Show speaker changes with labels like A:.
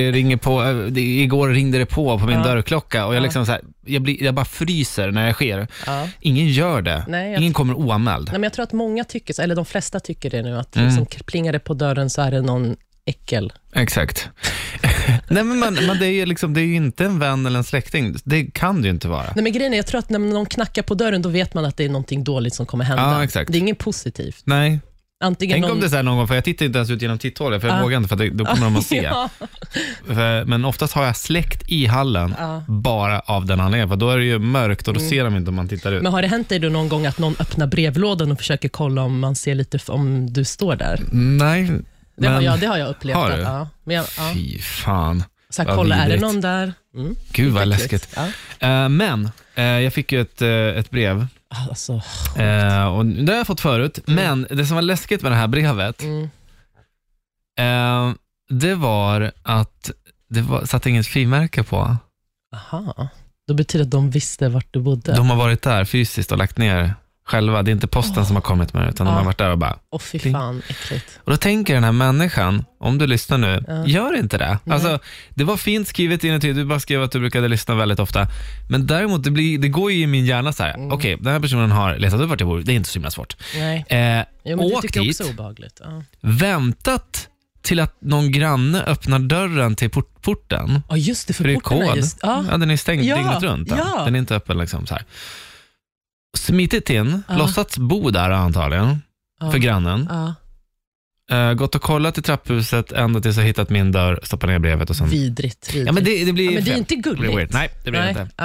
A: ringer på, eh, det- igår ringde det på på min
B: Ja.
A: dörrklocka och jag,
B: Ja.
A: liksom så här, jag, blir, jag bara fryser när det sker.
B: Ja.
A: Ingen gör det.
B: Nej, jag-
A: Ingen kommer oanmäld.
B: Nej, men jag tror att många tycker, så- eller de flesta tycker det nu, att
A: Mm.
B: liksom plingar det på dörren så är det någon äckel.
A: Exakt. Nej, men man, man, det, är ju liksom, det är ju inte en vän eller en släkting. Det kan det ju inte vara.
B: Nej, men grejen är, jag tror att när någon knackar på dörren, då vet man att det är någonting dåligt som kommer hända.
A: Ja, exakt.
B: Det är inget positivt.
A: Nej.
B: Antingen
A: Tänk
B: någon...
A: om det är så här någon gång, för jag tittar inte ens ut genom titthålet, för jag
B: Ja.
A: vågar inte, för att det, då kommer de att se.
B: Ah. Ja.
A: För- Men oftast har jag släkt i hallen,
B: Ja.
A: bara av den anledningen. För då är det ju mörkt och
B: Mm.
A: då ser de inte om man tittar ut.
B: Men har det hänt dig då någon gång att någon öppnar brevlådan och försöker kolla om man ser lite f- om du står där?
A: Nej,
B: Det, har,
A: men-
B: jag, det har jag upplevt.
A: Har
B: att-
A: du?
B: Ja. Men jag, ja.
A: Fy fan.
B: Så här,
A: Vad
B: kolla, är det
A: vidrigt.
B: någon där? Mm.
A: Gud vad läskigt.
B: Ja.
A: Eh, men eh, jag fick ju ett, eh, ett brev
B: Alltså,
A: eh, och det har jag fått förut. Men det som var läskigt med det här brevet,
B: mm.
A: eh, det var att det var, satt inget frimärke på.
B: Aha. Då betyder det att de visste vart du bodde.
A: De har varit där fysiskt och lagt ner själva. Det är inte posten som har kommit med det, utan de
B: Ja.
A: har varit där och bara
B: Åh fy fan, äckligt.
A: Och då tänker den här människan, om du lyssnar nu,
B: Ja.
A: gör inte det. Alltså, det var fint skrivet inuti, du bara skrev att du brukade lyssna väldigt ofta. Men däremot, det, blir, det går ju i min hjärna så här,
B: Mm.
A: okej, den här personen har letat upp vart jag bor, det är inte så himla svårt.
B: Nej.
A: Eh,
B: Jo, men det
A: åk
B: tycker jag
A: dit,
B: också är obehagligt. Ja.
A: väntat till att någon granne öppnar dörren till port- porten.
B: Ja, just det, för,
A: För det är
B: porten är
A: kod.
B: just... Ja.
A: Ja, den är stängd
B: Ja,
A: dygnet runt. Den,
B: ja.
A: den är inte öppen liksom så här. Smitit in,
B: Ja.
A: låtsats bo där antagligen,
B: Ja.
A: för grannen.
B: Ja.
A: Eh, gått och kollat i trapphuset ända tills jag hittat min dörr, stoppat ner brevet och sen...
B: Vidrigt, vidrigt.
A: Ja, men det, det blir
B: Ja, men det är
A: fel.
B: inte
A: Det blir
B: gulligt.
A: weird. Nej, det blir det
B: Nej.
A: inte.